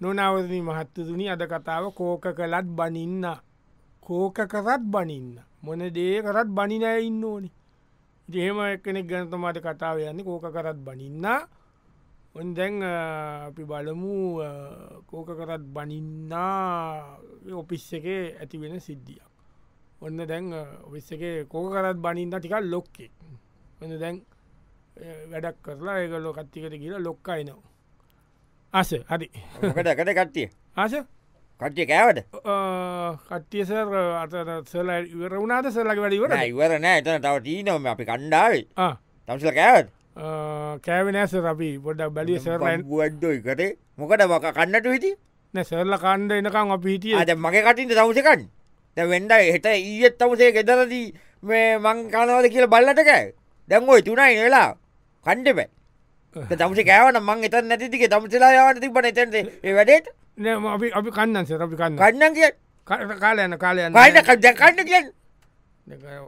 නොනවරණි මහත්තතුනි අද කතාව කෝක කලත් බනින්න කෝක කරත් බනින්න මොන දේ කරත් බනිනය ඉන්න ඕනි ජේම එක්කෙනෙක් ගැනතමට කතාව යන්න කෝක කරත් බනින්න ඔන් දැන් අ, අපි බලමු අ, කෝක කරත් බනින්න ඔපිස් එක ඇති වෙන සිද්ධියක් ඔන්න දැන් ඔවිස්ස එක කෝක කරත් බනින්න ටිකක් ලොක්කෙක් ඔන්න දැන් අ, වැඩක් කරලා ඒකලො කත්තිකට කියලා ලොක්කයිනවා අස හරි මොකට කට කට්ටිය ආස කට්ටිය කෑවට කට්ටියසර් අත සල ඉවර වුණාද සල්ලක වැඩිවර නෑ, ඉවර නෑ එතන තව ටීනම අපි කණ්ඩාවේ තමසල කෑවට කෑවෙනෑස අපි පොඩ බැලිය සර්ලන් ගුවඩ්ඩොයි කරේ මොකට මක කන්නට විති සෙල්ල කණ්ඩ එනකම් අපි හිටිය අද මගේ කටින්ට තවසකන් දැ වෙන්ඩ හෙට ඊයත් තවසේ ගෙදරදී මේ මං කනවද කියල බල්ලටකෑ දැන් ඔයි තුනයි වෙලා කණ්ඩෙබැ තමස කෑවන මං එතන් නැතිතික තමසලා යාවට තිබට එතන්සේ ඒ වැඩේට නෑ අපි අපි කන්නන්ස අපි කන්න ගන්නන් කිය කාල යන කාලය පයින කද කන්න කිය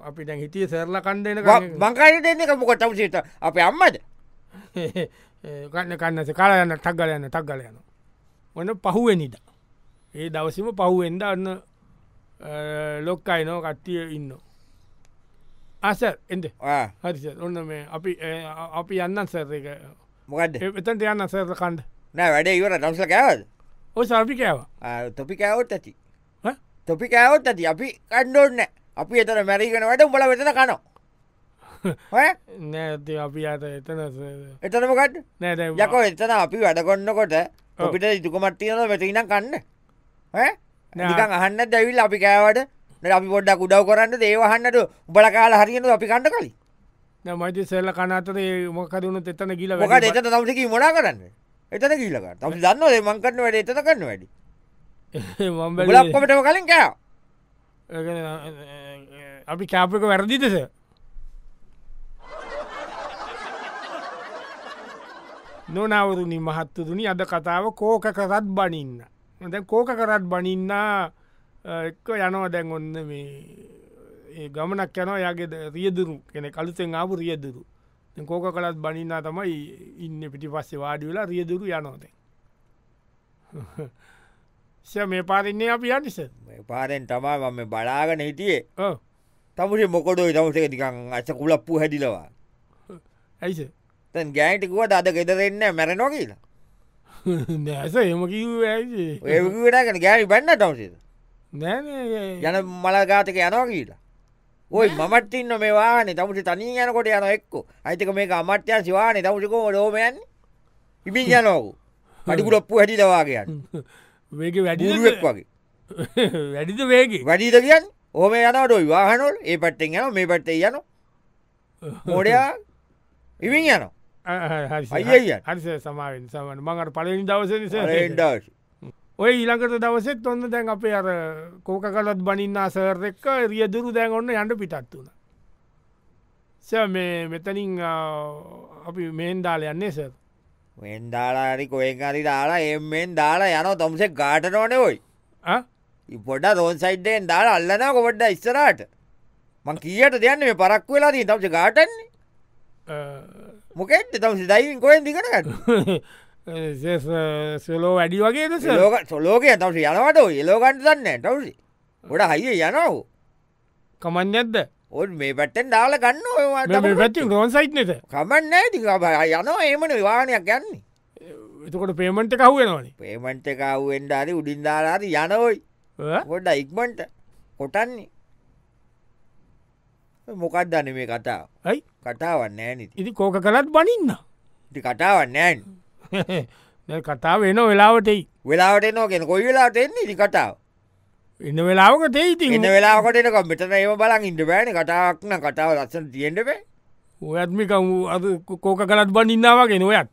අපි දැන් හිටිය සෙල්ල කණ්ඩ එන මංකායට එන්නේ මොකට තමසේට අප අම්මද කන්න කන්නස කාල යන්න ටක්ගල යන්න ටක්ගල යන ඔන්න පහුවෙනිද ඒ දවසම පහුවෙන්ද අන්න ලොක්කයි නෝ කට්ටිය ඉන්න අස එද ආ, හරි ඔන්න මේ අපි ඒ, අ- අපි යන්න සැරක මොකක්ද එතන්ට යන්න සැර කණ්ඩ නෑ වැඩේ ඉවර තමසල කෑවද ඔය සල්පිකෑව ආ, තොපි කෑවොත් ඇති ඈ? තොපි කෑවොත් ඇති අපි කණ්ඩෝන්න අපි එතන මැරිගෙන වැට උඹල වෙතන කනවා ඔය නෑ අපි අත එතන එතනමකට නෑ යකෝ එතන අපි වැඩගොන්නකොට අපිට ඉතුකමට්තියන වෙටනම් කන්න නෑ. නිකන් අහන්න දැවිල් අපි කෑවට නට අපි පොඩ්ඩක් උඩව් කරන්න දේවහන්නට උබල කාල හරියන අපි කණ්ඩ කලින් මයිති සෙල්ල කනතර මොකරුණු එතන ගිල මොකට එත තමසක මොනා කරන්න එතන කියීලකට අපි දන්න මංකරන්න වැඩ එතන කන්න වැඩි බලක්කොමටම කලින් කෑ අපි කෑපක වැරදිතස නොනවරුණි මහත්තතුනි අද කතාව කෝක කරත් බනින්න ද කෝක කරත් බනින්න අ, එක්ක යනවා දැන් ඔන්න මේ ඒ ගමනක් යනවා යාගේ ද- රියදුරු කෙන කළුතෙන් ආපු රියදුරු දැන් කෝක කලත් බනින්න තමයි ඉන්න පිටි පස්සේ වාඩි වෙලා රියදුරු යනෝද ස මේ පාරන්නේ අපි යනිස පාරෙන් තමා මම බලාගෙන හිටියේ ඕ තමුසේ මොකොඩෝයි තමසේ තිකන් අස කුලප්පු හැදිලවා ඇයිස තැන් ගෑන්ටිකුවට අද ගෙදරෙන්න මැරනෝ කියලා නෑස එම කිව් ඇයි ඒවිටගෙන ගෑනි බැන්න තමසේ නෑ යන මලගාතක යනවා කියලා ඔයි මටතින්න මේවානේ තමුසේ තනී යනකොට යන එක්කෝ අයිතක මේ අමට්‍යය සිවානේ තමුසකෝ ලෝමයන් ඉබින් යනෝකු පඩිකුලොප්පු හැදිලවාගේයන් වේග වැඩිුවක් ඩිුවක් වගේ වැඩිද වේගේ වැඩීද කියන් ඕම යනට විවාහනොල් ඒ පට්ටෙන් යන මේ පට්ටේ යන මොඩයා ඉවින් යන අයියයි යන්න. හරිස සමාවෙන් සමන් මඟට පලින් දවස ඩ ඔය ඊළඟට දවසෙත් ඔන්න දැන් අපේ අර කෝක කලත් බනින්න අසරෙක්ක රියදුරු දැන් ඔන්න යන්න පිටත් වුණ ස මේ මෙතනින් අ, අපි මේන් දාල යන්නේ සර් මෙන් දාලාරි කොයෙන්කාරි දාලා එෙන් දාලා යන තොමසේ ගාට නොන ඔයි ඉපොඩ දොන් සයිට්ෙන් දාලා අල්ලන කොඩ්ඩ ඉස්සරට මං කියට දෙයන්න මේ පරක් වෙලා දී තමස ගාටන්නේ මොකෙට් තම දයින් කොයෙන් දිගට සෙලෝ වැඩි වගේද සර් ලෝක සොලෝකය තමස යනවට එලෝගන්ට දන්න තවසි ගොඩ හයිිය යනව කමන් ඇත්ද ඔන් මේ පට්ටෙන් දාලා ගන්න ඔයවා පැත්ති රෝන් සයිට් නත කමන්න ඇති යන ඒමන විවානයක් යන්නේ එතකොට පේමට කහුවෙනවානේ පේමන්ට කව්ෙන්ඩාරි උඩින් දාලාද යනවයි ගොඩ ඉක්මට කොටන්නේ මොකක් දන මේ කතාව ඇයි කටාවන්න නෑනති ඉති කෝක කලත් බනින්න කටාවන්න නෑන් දැන් කතාව එන වෙලාවටයි වෙලාවට නෝගෙන කොයි වෙලාට එන්නේ ඉදි කටාව එන්න වෙලාවක තේයිති එන්න වෙලාකොටනක මෙතන ඒම බලන් ඉඩ බෑන කටාවක්න කටාව ලස්සන තියෙන්ටබේ ඔයත්මික අද කෝක කලත් බනින්නාවගෙන ඔයත්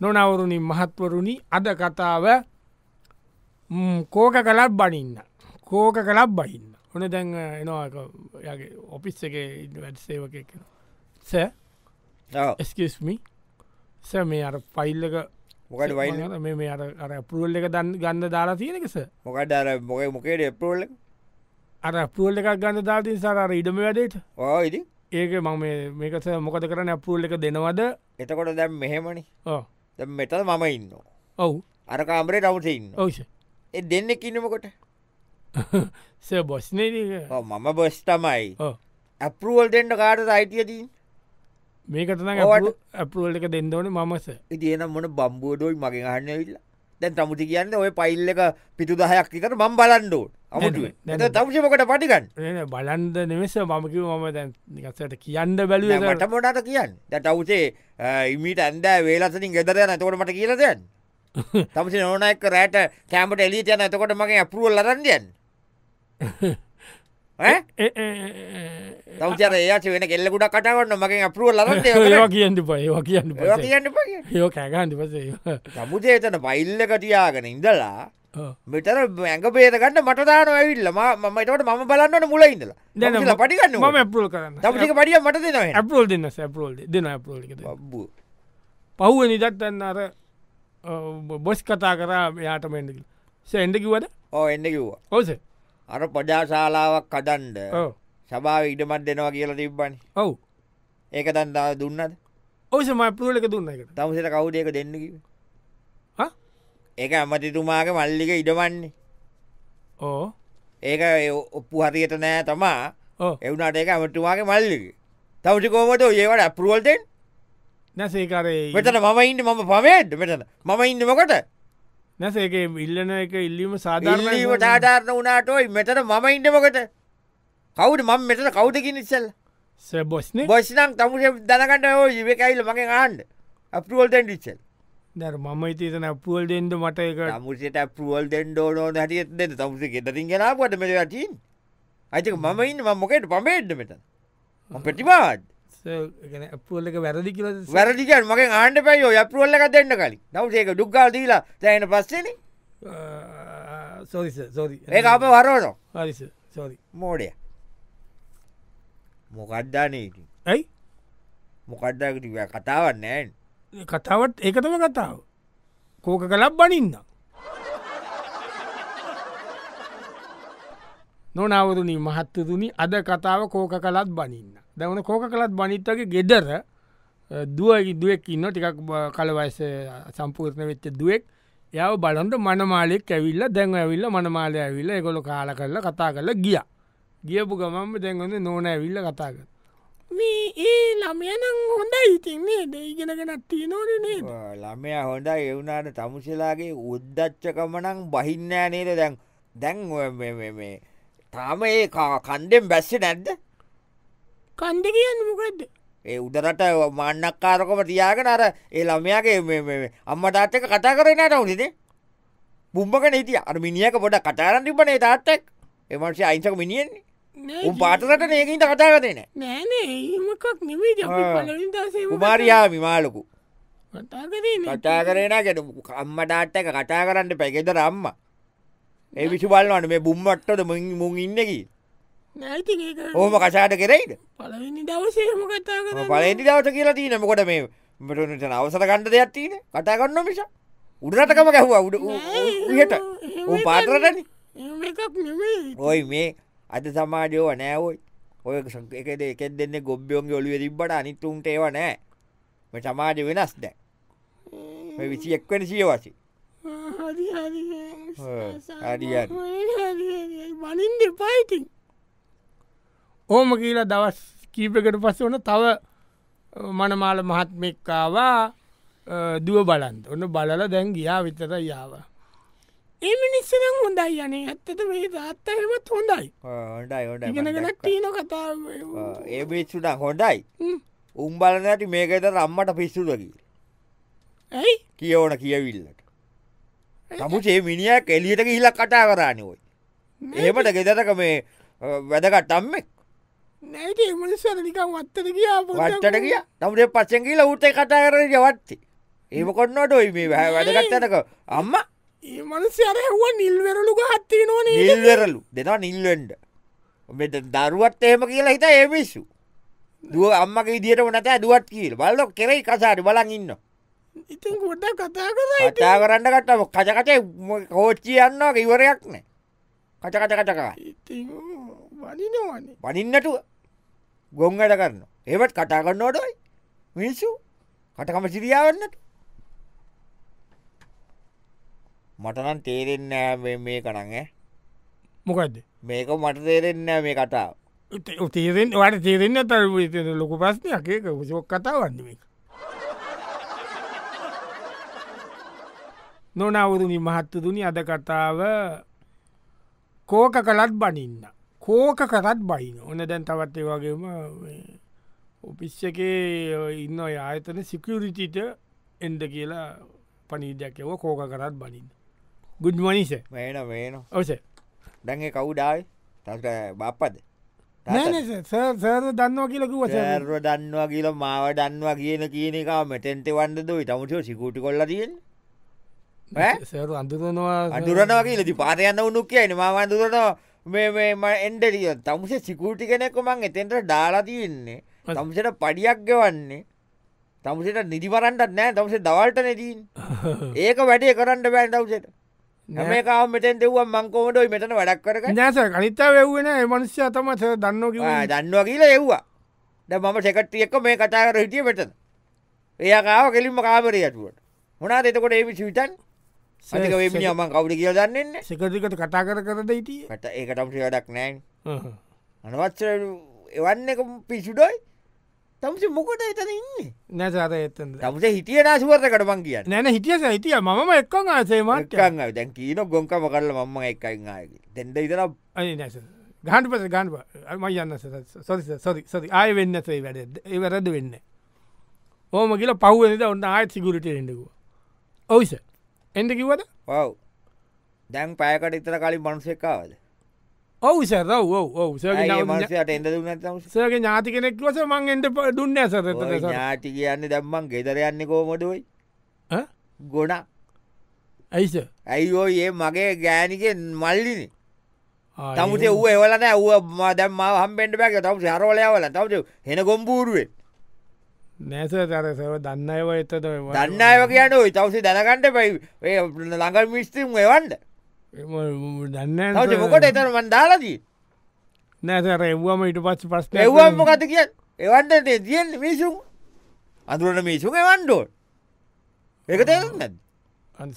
නොනවරුණින් මහත්වරුණි අද කතාව ම්, කෝක කලත් බනින්න කෝක කලත් බහින්න හොන දැන් එනවා යගේ ඔපිස් එක වැඩසේවක කෙන සෑ එස්කස්මි ස මේ අර පයිල්ලක මොකට වයි මේ මේ අර අර පුරුවල් එක දන් ගන්න දාලා තියෙනකෙස මොකට අර මොක මොකේට එපරෝල්ල අර පුරුවල් එකක් ගන්න දාතින් සර ඉඩම වැඩේට ඕ ඉදි ඒක මම මේ- මේකස මොකද කරන අපපුල් එක දෙනවද එතකොට දැම් මෙහෙමනි ඔව්. දැන් මෙතන මම ඉන්න ඔව් අර කාමරේ රවස ඉන්න ඔවෂ ඒ දෙන්න කිනමකොට ස බොස්නේ මම බස් තමයි ඔව්. ඇපරුවල් දෙෙන්ට කාට අයිතියදී මේකතන ඕවට. අපරුවල් එක දෙන්නවන මමස ඉතියන මොන බම්බෝඩෝයි මගේ හන්න විල්ලා දැන් තමුති කියන්න ඔය පයිල් එක පිතු දහයක් විතර මම් බලන්ඩෝ නෑ, අමුටුව නෑ. තමුසමකට පටිකන් බලන්ද නෙමෙස මමකිව මම දැන් නිකසට කියන්න බැලුව මට මොඩට කියන්න දැ තවසේ ඉමිට ඇන්ද වේලසනින් ගෙදරයන තකොට මට කියලදයන් තමසේ නොනක් රෑට කෑමට එලි යන එතකොට මගේ අපරුවල් ලරන්දයන් තවචර ඒස වෙන කෙල්ලකුට කටවන්න මගේ අපරුවල් ඒවා ලරන්ය කියන්න ප ඒවා කියන්න ප කියන්න පගේ ඒෝ කෑගන්න පසේ තමුසේ එතන පයිල්ල කටියාගෙන ඉඳලා මෙතර ඇඟ පේදගන්න මට දාන ඇවිල්ල ම මම එතවට මම බලන්නට මුල ඉඳලා දැන් දැ පටිගන්න මම ඇපරල් කරන්න තමටික පඩිය මට දෙනවා ඇපරෝල් දෙන්න සැපරෝල් දෙන ඇපරෝල්ිකද බබ්බු පහුව නිදත්වන්න අර බොස් කතා කරා යාට මෙන්ඩකිල් සෙන්ඩ කිවද ඕ එන්න කිව්වා ඕස අර ප්‍රජාශාලාවක් කදන්ඩ ඔව සභාව ඉඩමත් දෙනවා කියලා තිබ්බනි ඔව ඒක තන්තාව දුන්නද ඔස ම පරෝල එක දුන්න එකට තමසට කවුද ඒක දෙන්නකි හා? ඒක ඇමතිතුමාගේ මල්ලික ඉඩවන්නේ ඕ ඒක ඒ ඔප්පු හරියට නෑ තමා ඕ එවුණට ඒක ඇමටතුමාගේ මල්ලික තවටිකෝමට ඒවට අපරුවල්ටෙන් නැසේකරේ මෙතන මම ඉන්න මම පමේද මෙතන මම ඉන්නමකට නැසේක ඉල්ලන එක ඉල්ලීම ඉල්ලීම සාධාරණීම සාධාරණ වනාටයි මෙතන මම ඉන්නමකට කවුට මම මෙතන කවුදකි නිසල් සැබොස්න බොස්්නම් තමුස දනකට ඕ ජිවකයිල මගේ ආන්ඩ අපරුවල්ටන් ිච්චල් දැර මම ඉතිතන පුවල් දෙෙන්ඩ මට එක තමුසට අපරුවල් දෙන්ඩ ඕනෝ හටියත් දෙ තමුස ෙතරින් ගෙනාපුට මෙලටීන් අයිතක මම ඉන්න ම මොකට පමේඩ්ඩ මෙතන මම ප්‍රතිමාත් පුවල් එක වැරදි කියල වැරදිකන් මගේ ආණ්ඩ පැයෝ යපරුවල්ලක දෙන්න කලින් නවසේක දුක්ගල් දීලා තැන පස්සෙන සෝරි සෝරි ඒ අප වරෝනෝ හරිස සෝරි මෝඩය මොකද්දානීට ඇයි මොකක්්දාකට කතාවන්න නෑන් කතාවත් ඒකතම කතාව කෝක කලක් බනින්න නොනවරුණි මහත්තතුනි අද කතාව කෝක කලත් බනින්න දැවන කෝක කලත් බනිත්තගේ ගෙදර දුවගේ දුවෙක් ඉන්න ටිකක් බ- කලවයස සම්පූර්ණ වෙච්ච දුවෙක් යව බලන්ට මනමාලෙක් ඇවිල්ල දැන් ඇවිල්ල මනමාලය ඇවිල්ල එකොල කාල කරලා කතා කරල ගිය ගියපු ගමම දැන්ගොඳ නෝන ඇවිල්ල කතාග මේ ඒ ළමයනං හොඳ ඉතින්නේ දෙයිගෙනගෙනත්ති නොන නේද ළමය හොඳ එවුනාට තමුසලාගේ උද්දච්චකමනං බහින්නෑ නේද දැන් දැන් ඔය මේ- මේ- මේ තාම ඒ කා- කණ්ඩෙන් බැස්ස නැද්ද කන්ද කියන්න මොකක්ද ඒ උදරට මන්නක්කාරකොම තියාගෙන අර ඒ ළමයාගේ මේ- මේ- මේ අම්ම තාත්තක කතා කරන්න ටවුනිදේ බුම්බක නීති අර මිනිියක පොඩ කටාරන් තිබනේ තාත්තක් එමන්සේ අයිංසක මිනිියෙන්නේ උම් පාටරට නයකින්ට කතා කරන නෑනේ ඒමකක් නෙවේද ආ. පලින් දසේ උමාරයා විමාලකු කතාගරන කටා කරන ගැන අම්ම ඩාට්ටක කටා කරන්න පැකෙත රම්ම ඒ විසු බලවන්න මේ බුම්මට්ටද මුං මුං ඉන්නකි නැති ඕම කසාට කෙරෙයිද පලවෙනි දවසේම කතා කර පලේදි දවස කියලා තියන මොකොට මේ මටනට අවසර කණ්ඩ දෙයක් තියන කටා කරන්න මිස උඩරටකම ගැහුව උඩ හට උ පාතරටන එකක් නෙවේ ඔයි මේ අද සමාජයෝ නෑවයි ඔය එකද එකක් දෙන්න ගොබ්බියෝන්ගේ ඔලිව තිබ්බට අනිත්තුන්ට ඒව නෑ මේ සමාජ වෙනස් දැ විසි එක්වන සියවසි හරි හරි ඔව්, හරි, හරි. බලින් දෙපයිති ඕම කියලා දවස් කීපකට පස්ස වන තව මනමාල මහත්මෙක්කාවා දුව බලන්ත ඔන්න බලල දැන් ගියා විතර යාව ඒ මිනිස්සනම් හොඳයි යනේ ඇත්තට මේ තාත්තහෙමත් හොඳයි හොඩයි හොඩ ඉගෙනගෙනක් තියන කතා ඒ පිස්සුට හොඩයි උම්බලනට මේකත රම්මට පිස්සුදකි ඇයි කියවන කියවිල්ලට තමුසේ මිනිියක් එලියට හිලක් කටා කරන්නවයි ඒමට ගෙදතක මේ වැදකටම්මෙක් නැට මනිස්සර නිකම් වත්තට කියා වට්ටට කිය තමට පස්සෙන් කියල උත්තේ කතා කර ජවත්ති ඒම කොන්නට ඔයි මේ වැ- වැඩගත්තටක අම්ම ඒ මනස අර හුව නිල්වැරලු ගහත්තේ නොනේ නිල්වරලු දෙනා නිල්වෙන්ඩ මෙ දරුවත් එහෙම කියලා හිතා ඒමිස්සු දුව අම්මක විදිටම නැත දුවත් කියීල් බලො කෙරයි කසාට බලන් ඉන්න ඉතින් ගොඩ කතා කරයි කතා කරන්න කටම කචකටේ කෝච්චියන්නවා ඉවරයක් නෑ කචකච කටකා ඉති වනිනවනේ පනින්නටුව ගොං වැඩ කරන්න ඒවත් කටා කරන්න ඕටයි මිනිස්සු කටකම සිරියාවන්නට මටනන් තේරෙන්න මේ කනං ඈ. මොකක්ද මේක මට තේරෙන්න මේ කටාව තේරෙන් වට තේරෙන්න්න තර ලොක ප්‍රස්නයක් ඒක සොක් කතාවන්නමක් නොනවුරුණි මහත්තතුනි අද කතාව කෝක කලත් බනින්න කෝක කරත් බයින ඕන දැන් තවත් ඒ වගේම මේ ඔපිස්සකේ ඔය ඉන්න ඔය ආයතන සිකියරිටිට එන්ඩ කියලා පනීදයක්කව කෝක කරත් බනින්න ගුඩ්මනිස මේන මේන ඔස දැන්ගේ කවුඩායි තක බප්පද සර් දන්නවා කියලකුව සර් සෑර්ව දන්නවා කියල මාව දන්නවා කියන කියනක මෙටන්ට වන්නදයි තමටෝ සිකුටි කොල්ල තියෙන් සරු අඳුරනවා අඳුරනවා කියලති පාරයන්න උනු කියන මාව අඳුරනවා මේම එන්ඩරිය තමුසේ සිකුටි කෙනෙක්කොමං එතෙන්ට දාලා තියෙන්නේ හරි. තමුසට පඩියක් ගවන්නේ තමුසට නිදිවරන්ටත් නෑ තමසේ දවල්ට නැදීන් ඒක වැඩේ කරන්න බෑන් තවසට නෑ. නමේ කාව මෙතෙන් දෙව්වා මංකෝමටයි මෙතන වැඩක් කරක නෑස කනිතා වැව්වෙන මනුෂ්‍ය තම සර් දන්න කිව ආ, දන්නවා කියලා එව්වා ද මම සෙකට්ටිය එක්ක මේ කතා කර හිටිය පෙතන එයා කාව කෙලින්ම කාමරය ඇතුවට මොනා එතකොට ඒවි සිවිතන් සක වේමියම කවුඩ කියල දන්නන්න සකතිකට කතා කර කරද හිටිය ට ඒකටම්සි වැඩක් නෑන් අනවත්ස එවන්න එක පිසුඩොයි තමස මොකට එතන ඉන්න නැසාර එත්තද තමස හිටිය නාසුවර්ත කටමන් කියන්න නැන හිටිය සහිතිය මම එක්කං ආසේමට මක්කන්න දැන් කීන ගොංකම කරල මම්ම එකයිගේ දෙෙන්ඩ ඉතර අනි නැස ගහන්ට පස ගන්ව අම යන්න සොරි සොරි සොරි ආය වෙන්න සේ වැඩ ඒ වැරද වෙන්න ඕම කියල පව්වෙනද ඔන්න ආයත් සිගුලට එඩකුව ඔයිස එඩ කිවද ඔව් දැන් පෑකට ඉතර කලින් මනුසෙක්කාවද ඔවුස රව් ඔව ඔව සගේ මනසයට එඳ දුන්න තමස ඥාති කෙනෙක්වස මං එට දුන්න ඇසර ඔය ඥාටි කියන්නේ දම්මන් ගෙදර යන්න කෝමටයි ගොඩ ඇයිස ඇයිෝ ඒ මගේ ගෑනිකෙන් මල්ලින තමුට ව් එවලන ඇව දම්ම හම්බෙන්ට බැක තම හරෝලයවල තවට හෙන ගොම්පූරුවෙන් නැස තරසව දන්න අව එතද දන්න අයව කියන්න ඔයි තවසේ දැනකන්ට පයි ළඟල් මිස්තිම් එවන්ඩ දන්න තවට මොකට එතන මන්දාලදී නැසර එව්වම ඉට පස්ස ප්‍රස්න එව්වම්ම කත කිය එවන්ට තියෙන් මිසුම් අඳුරන මිසුම් එවන්ඩෝ ඒක තේරුම් නැද්ද?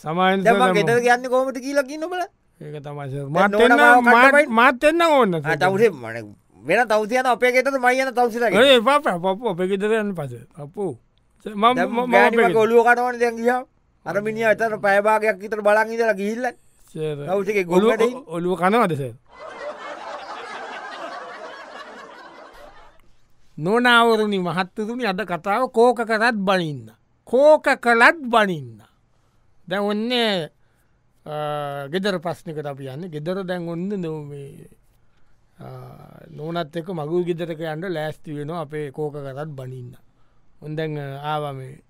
සමායන් දැන් මං ගෙදර කියන්න කෝමට කියලා කියන්න බල ඒක තමයි දැන් නෝනාව මත් කණ්ඩායම්- මාත් එන්න ඕන්න තවසේ මන වෙන තවතියන අපේ ගෙතර මයින තවසිර ඒ පා පපු අප ගෙදරයන්න පස අපපු ගොලුව කටවන දැන් කිය අර මිනි අතර පෑභාගයක් ඉතර බලන් ඉදලා ගිල්ල තවසේ ගොලු ගොලුවට ඔලුව කනවදස නොනාවරණි මහත්තතුනි අද කතාව කෝක කරත් බනින්න කෝක කලත් බනින්න දැ ඔන්නේ ගෙදර පස්්නිකට අපි යන්න ගෙදර දැන් ඔන්න නොවේ නොනත් එක මගු ගෙදරක යන්න ලෑස්ති වෙන අපේ කෝක කරත් බනින්න උන්දැන් ආවමේ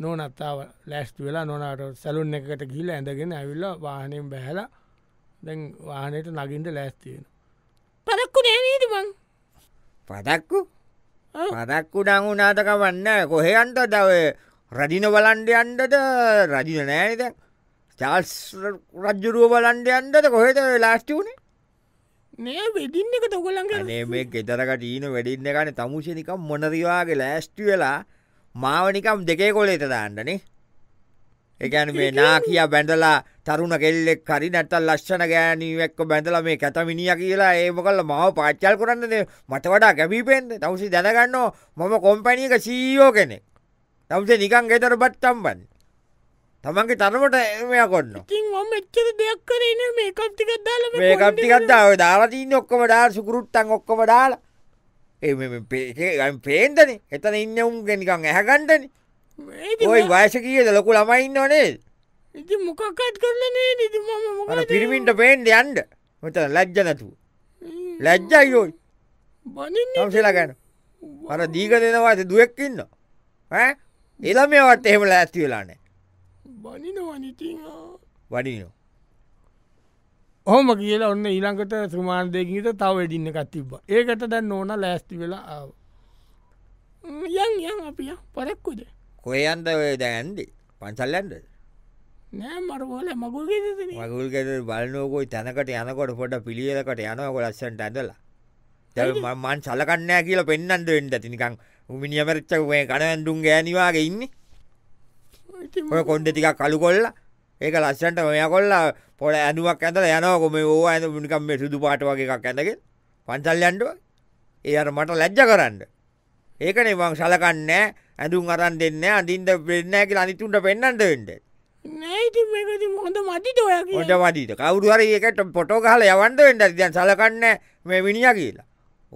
නොනත්තාව ලෑස්ට වෙලා නොනට සැලුන් එකට ගිල ඇඳගෙන ඇවිල්ල වාහනයෙන් බැහලා දැන් වාහනයට නගින්ට ලෑස්තියෙන පදක්කු නෑනීද බං පදක්කු ආ. පදක්කු ඩංු නාටක වන්න කොහයන්ට දව රජින වලන්ඩයන්ටට රජින නෑද චාල්ස් රජ්ජුරුව බලන්ඩයන්ටට කොහෙත ලාස්ටි වුණේ නෑ වෙඩින්න එක තොගොලඟ අනේ මේ ගෙතරකට ඊන වැඩින්න ගන තමුෂනිකම් මොනදවාගේ ලෑස්ටි වෙලා මාවනිකම් දෙකේ කොලේට දාන්නනේ එකන් මේ නා කියා බැඳලා තරුණ කෙල්ලෙක් කරි නැත්තල් ලක්ෂණ ගෑනීවක්ක බැඳල මේ කැතමිනිිය කියලා ඒම කල්ල මව පාච්චල් කරන්නද මට වඩා කැපිපෙන්ද තවසි දැනගන්නෝ මම කොම්පැනියක සීයෝ කෙනෙක් තවසේ නිකන් ගෙතර බත්තම්බන් තමන්ගේ තරමට එමය කොන්න ඉතින් මම එච්චර දෙයක් කරන මේ කප්ටිකක් දාල මේ කප්ටිකත්දාව දාලතිීන්න ඔක්කම ඩා සුකරුත්තන් ඔක්කම ඩාල ඒම් පේන්දන එතන ඉන්න උන්ගෙනකං ඇහකණ්ඩන ඔයි වයස කියද ලොකු ළමයින්න ඕනේ ඉති මොකක්කත් කරලනේ නිති මම මොකද අන පිරිමින්ට පේන්ද යන්ඩ මෙත ලැජ්ජ නැතු ලැජ්ජයියෝයි බනින්න තවසෙලගැන මර දීග දෙනවාද දුවෙක්කින්න එළමයවත් එහෙම ඇත්ති වෙලානේ බනිනවනිතින් වඩිනෝ හොම කියලා ඔන්න ඊළඟට සුමාන් දෙකීට තව වැඩින්න එකක් තිබ්බ ඒකට දැන් නෝන ලෑස්ති වෙලා ආව. ම්, යන් යන් අපිය පරක්කුද කොයන්ද ඔය දැන්දි පන්සල්ලන්ද නෑ මරවල මගුල්ගෙදන මගුල්ගෙද බලනෝකොයි තැනකට යනකොට පොට පිළියලකට යනකොට ලස්සන්ට ඇඳලා ඇයි? මන් සලකන්නෑ කියල පෙන්න්නට වෙන්ට තිනිකං උමිනිිය මරච්චකේ කනඇඩුම් ගෑනිවාගේ ඉන්න ඉතින් ඔය කොන්ඩ ටිකක් කළු කොල්ල ඒක ලස්සන්ට මෙය කොල්ලා පොල ඇනුවක් ඇතල යනකොම ඕ ඇද මිනිකම් මේ සුදු පාට වගේ එකක් ඇඳක පන්සල්යන්ටුව ඒ අර මට ලැජ්ජ කරන්න ඒකන එවන් සලකන්න ඇඳුම් අරන් දෙන්න අඳින්ට පෙන්න්නෑ කියල අනිතුන්ට පෙන්න්නට වෙන්ට නෑති මේකති හොඳ මතිත ඔය ොඩ වඩීට කවරුහර ඒකට පොටෝ කාල යවන්ට වෙන්ට දන් සලකන්න මේ විනිිය කියලා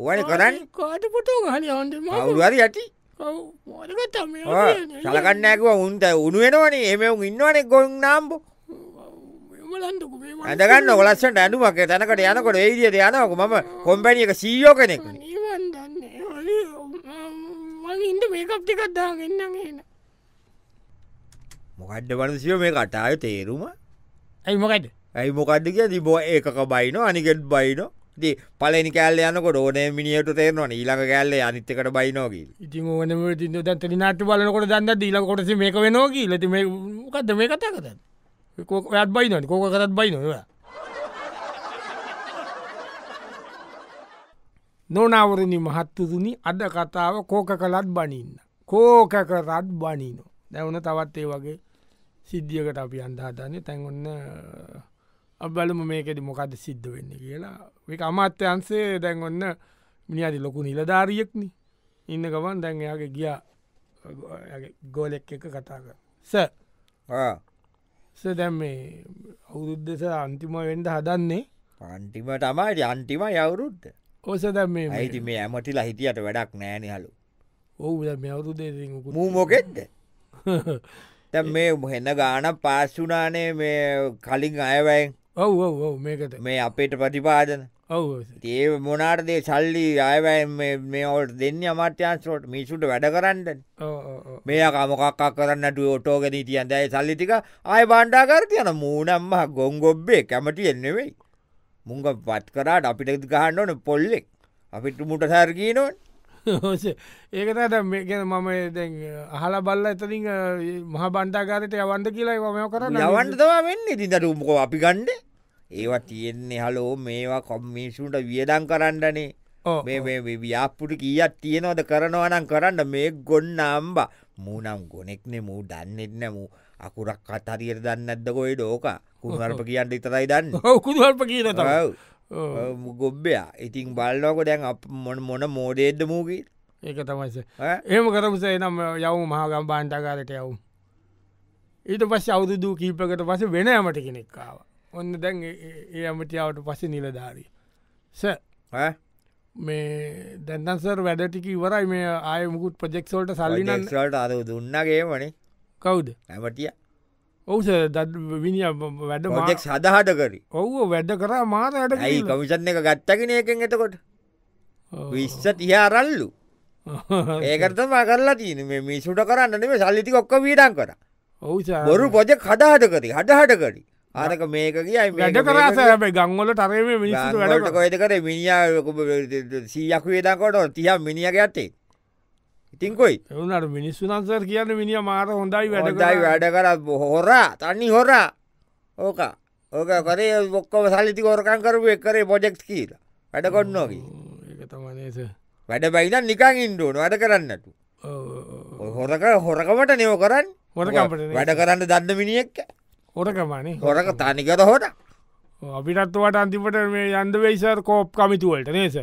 ඕන කරන්න කාට පොටෝ හරි අන්ට කවුරුහරි ඇති මෝරගත සලකන්නෑකුව උන්ට උුණු වෙනවනේ එමවුම් ඉන්නවනෙ ගොන් නාම්බෝ ලන්දකු ඇඳගන්න ඔලස්සට ඇනුමක් තැනකට යනකොට ඒදිියට යනක මම කොම්පැනියක සීයෝ කෙනෙක් නිවන්දන්නේ හො ඉන්ට මේකප් ටිකත්දා ගන්න ගෙන මොකඩ්ඩ වනසියෝ මේ කටාය තේරුම ඇයි මොකයිද ඇයි මොකඩ්ඩ කිය තිබෝ ඒකක බයින අනිකෙට් බයිනෝ ති පලනි කෑල්ල යනකොට ඕනේ මිනිියට තේරනවා ඊළඟ කෑල්ලේ අනිත්තකට බයිනෝකිල් ඉතින් ඕන ද දැතනි නාට බලකොට දන්න දීල කොටස මේක වෙනෝකී ලති කද මේ කතා කතන්න ඔයත් බයිනට කෝක කරත් බයිනවා නොනවරණි මහත්තුතුනි අද කතාව කෝක කලත් බනින්න කෝක කරත් බනිනෝ දැවන තවත් ඒ වගේ සිද්ධියකට අපි අන්දාතන්නේ තැන්ගන්න අබලම මේකෙද මොකද සිද්ධ වෙන්න කියලා එක අමාත්‍යන්සේ දැන්ගන්න මිනිියදි ලොකු නිලධාරියෙක්නි ඉන්න ගමන් දැන් එයාගේ ගියා එයාගේ ගෝලෙක් එක කතා කර ස ස දැම් මේ අවුරුද්දෙස අන්තිම වෙන්ඩ හදන්නේ පන්ටිම තමයි අන්ටිම යවුරුද්ද ඕස දැම් මේ ඇයිති මේ ඇමටිලා හිටියට වැඩක් නෑනහලු ඔහු දැන් මේ අවුරුදේ මූ මොකෙක්ද තැ මේ හෙන්න ගාන පාස්සුනානේ මේ කලින් අයවැයි ඔව් ඔව් ඔව් මේකත මේ අපේට ප්‍රතිපාදන ඔව් ඒ මොනාටදේ සල්ලි අයවැ මේ ඔට දෙන්න අමාත්‍යන්ස්රෝට මිසුට වැඩ කරන්න මේකමොකක් කරන්නට ඔටෝගෙන තියන් දැයි සල්ලිතික ආය බණ්ඩාකර තියන මූනම්ම ගොංගොබ්බේ කැමති එන්නෙවෙයි. මුංග පත් කරාට අපිට ගහන්න ඕන පොල්ලෙක් අපිට මුට සැරගීනොන් ඒකතට මේ ගැන මම දැන් අහල බල්ල එතරින් මහ බන්්ඩාකාරයට යවන්ඩ කියලා මම කරන්න නවන්ටතවා වෙන්න ඉතින්ට උමකෝ අපි ගණ්ඩ ඒවා තියෙන්නේ හලෝ මේවා කොම්මිසුන්ට වියදං කරන්නනේ ඕ මේ මේ මේ ව්‍යාප්පුට කියත් තියෙනවද කරනවනම් කරන්න මේ ගොන්න අම්බ මූනම් ගොනෙක්නෙ මූ දන්නෙත් නැමූ අකුරක් කතරියට දන්න ඇදකොයි ඩෝක කුහරප කියන්න ඉතරයි දන්න කුදුහල්ප කියන තම ඔව්. ඔව්, ගොබ්බයා ඉතින් බල්ලෝක දැන් අප මොන මොන මෝඩේද්ද මූකී ඒක තමයිස ඒම කරමසේ නම් යවු මහගම් බාන්ටකාරට යවුම් ඊට පස් අවුදුදූ කීපකට පස වෙන ඇමට කෙනෙක්කාව ඔන්න දැන් ඒ- ඒ- ඒ ඇමටියාවට පස නිලධාරී ස මේ දැන්දන්සර් වැඩටික ඉවරයි මේ ආයමුකුත් ප්‍රජෙක්සෝල්ට සල්ලිනන්න ල්ට අද දුන්නගේ වනේ කවුද ඇමටිය ඔවුස දත් විනිිය වැඩ මොජෙක් සදහට කරි ඔව්ව වැඩ කරා මාත වැඩ ඇයි කමිසන් එක ගත්තගෙන එකෙන් එතකොට විශ්ස තියාරල්ලු ඒකරත මකරලා තියන මේ මිසුට කරන්න මේ සල්ලිති ඔක්ක වීඩන් කර ඔවුස බොරු පොජෙක් හදාහට කරි හටහට කරි ආරක මේක කියයි වැඩ කරාස හැබ ගංවල තරම මිනිස්සු වැඩ කොයිද කර මිනිියාක සීයක් වේදකොට තිය මිනිියක ඇත්තේ ඉතින් කොයි එවුනට මිනිස්සු නන්සර් කියන්න මිනිිය මාර හොඳයි වැඩ වැඩයි වැඩ කර හොරා තනි හොරා ඕක ඕක කරේ ඔක්කොම සල්ලිති ෝරකන් කරුව කරේ පොජෙක්් කීර වැඩ කොන්නෝකි ඒක තමනේස වැඩ බයින නිකං ඉන්ඩුවන වැඩ කරන්නට හොරක හොරකමට නයෝ කරන්න හොරකමට නෙවෙයි. වැඩ කරන්න දන්න මිනිියක් හොරකමානේ හොරක තනිකර හොට අපිටත්වට අන්තිපට මේ යන්ද වේසර් කෝප් කමිතුවලට නේස